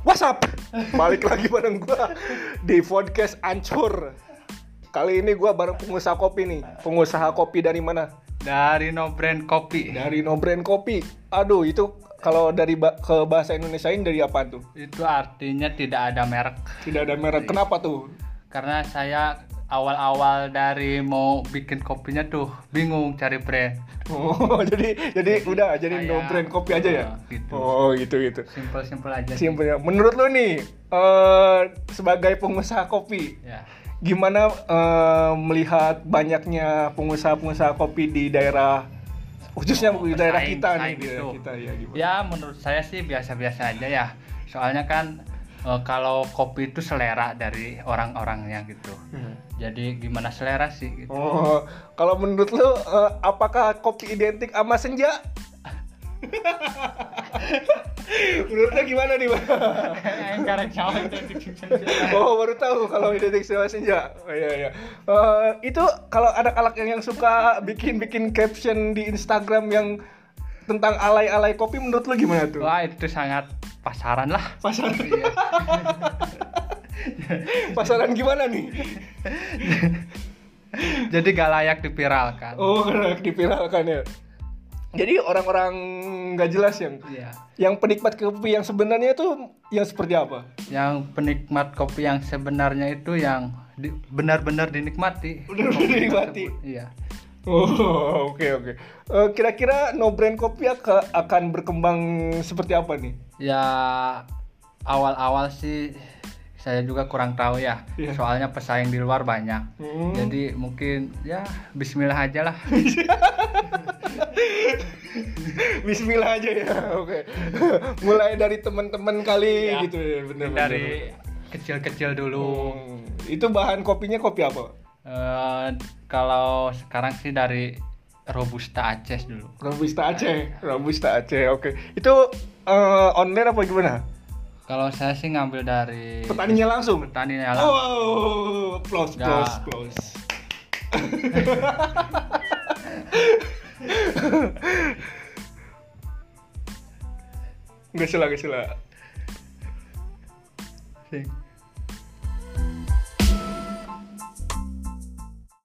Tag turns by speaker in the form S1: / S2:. S1: What's up? Balik lagi bareng gua di podcast Ancur. Kali ini gua bareng pengusaha kopi nih. Pengusaha kopi dari mana?
S2: Dari no brand kopi.
S1: Dari No Brand Kopi. Aduh, itu kalau dari ba- ke bahasa Indonesiain dari apa tuh?
S2: Itu artinya tidak ada merek.
S1: Tidak ada merek. Kenapa tuh?
S2: Karena saya awal-awal dari mau bikin kopinya tuh bingung cari brand.
S1: Oh, jadi jadi udah jadi No
S2: kayak-
S1: Brand Kopi aja ya.
S2: Oh, gitu.
S1: Oh, gitu gitu.
S2: Simpel-simpel aja. sih.
S1: Simpelnya. Menurut lu nih eh sebagai pengusaha kopi,
S2: Ya.
S1: Gimana eh, melihat banyaknya pengusaha-pengusaha kopi di daerah khususnya di daerah
S2: Pesaing-
S1: kita nih,
S2: pesaing
S1: di daerah
S2: gitu.
S1: kita ya gimana?
S2: Ya menurut saya sih biasa-biasa aja ya. Soalnya kan eh, kalau kopi itu selera dari orang-orangnya gitu.
S1: Hmm.
S2: Jadi gimana selera sih gitu.
S1: Oh, kalau menurut lu eh, apakah kopi identik sama senja? menurut lu gimana nih, Bang?
S2: gitu.
S1: Oh, baru tahu kalau identik sama senja. Oh, iya iya. Eh, itu kalau anak-anak yang, yang suka bikin-bikin caption di Instagram yang tentang alay-alay kopi menurut lu gimana tuh?
S2: Wah itu sangat pasaran lah.
S1: Pasaran.
S2: Iya.
S1: Pasaran gimana nih?
S2: Jadi gak layak dipiralkan.
S1: Oh, karena dipiralkan ya. Jadi orang-orang nggak jelas yang
S2: Iya.
S1: yang penikmat kopi yang sebenarnya itu yang seperti apa?
S2: Yang penikmat kopi yang sebenarnya itu yang di- benar-benar dinikmati.
S1: Benar-benar
S2: Kopi
S1: dinikmati.
S2: tersebut. Iya.
S1: Oh, oke oke. Eh, Kira-kira no brand kopi ak- akan berkembang seperti apa nih?
S2: Ya awal-awal sih saya juga kurang tahu ya.
S1: Iya.
S2: Soalnya pesaing di luar banyak.
S1: Hmm.
S2: Jadi mungkin ya Bismillah aja lah.
S1: Bismillah aja ya, oke. Mulai dari teman-teman kali
S2: Iya.
S1: gitu ya, benar-benar.
S2: Dari kecil-kecil dulu.
S1: Hmm, itu bahan kopinya kopi apa?
S2: Eh, kalau sekarang sih dari Robusta Aceh dulu.
S1: Robusta Aceh, Robusta Aceh, oke. Itu eh, online apa gimana?
S2: Kalau saya sih ngambil dari
S1: Petaninya langsung.
S2: petaninya lah.
S1: Oh, plus,
S2: Ya.
S1: plus, plus. Gak sila, gak sila.
S2: Sing.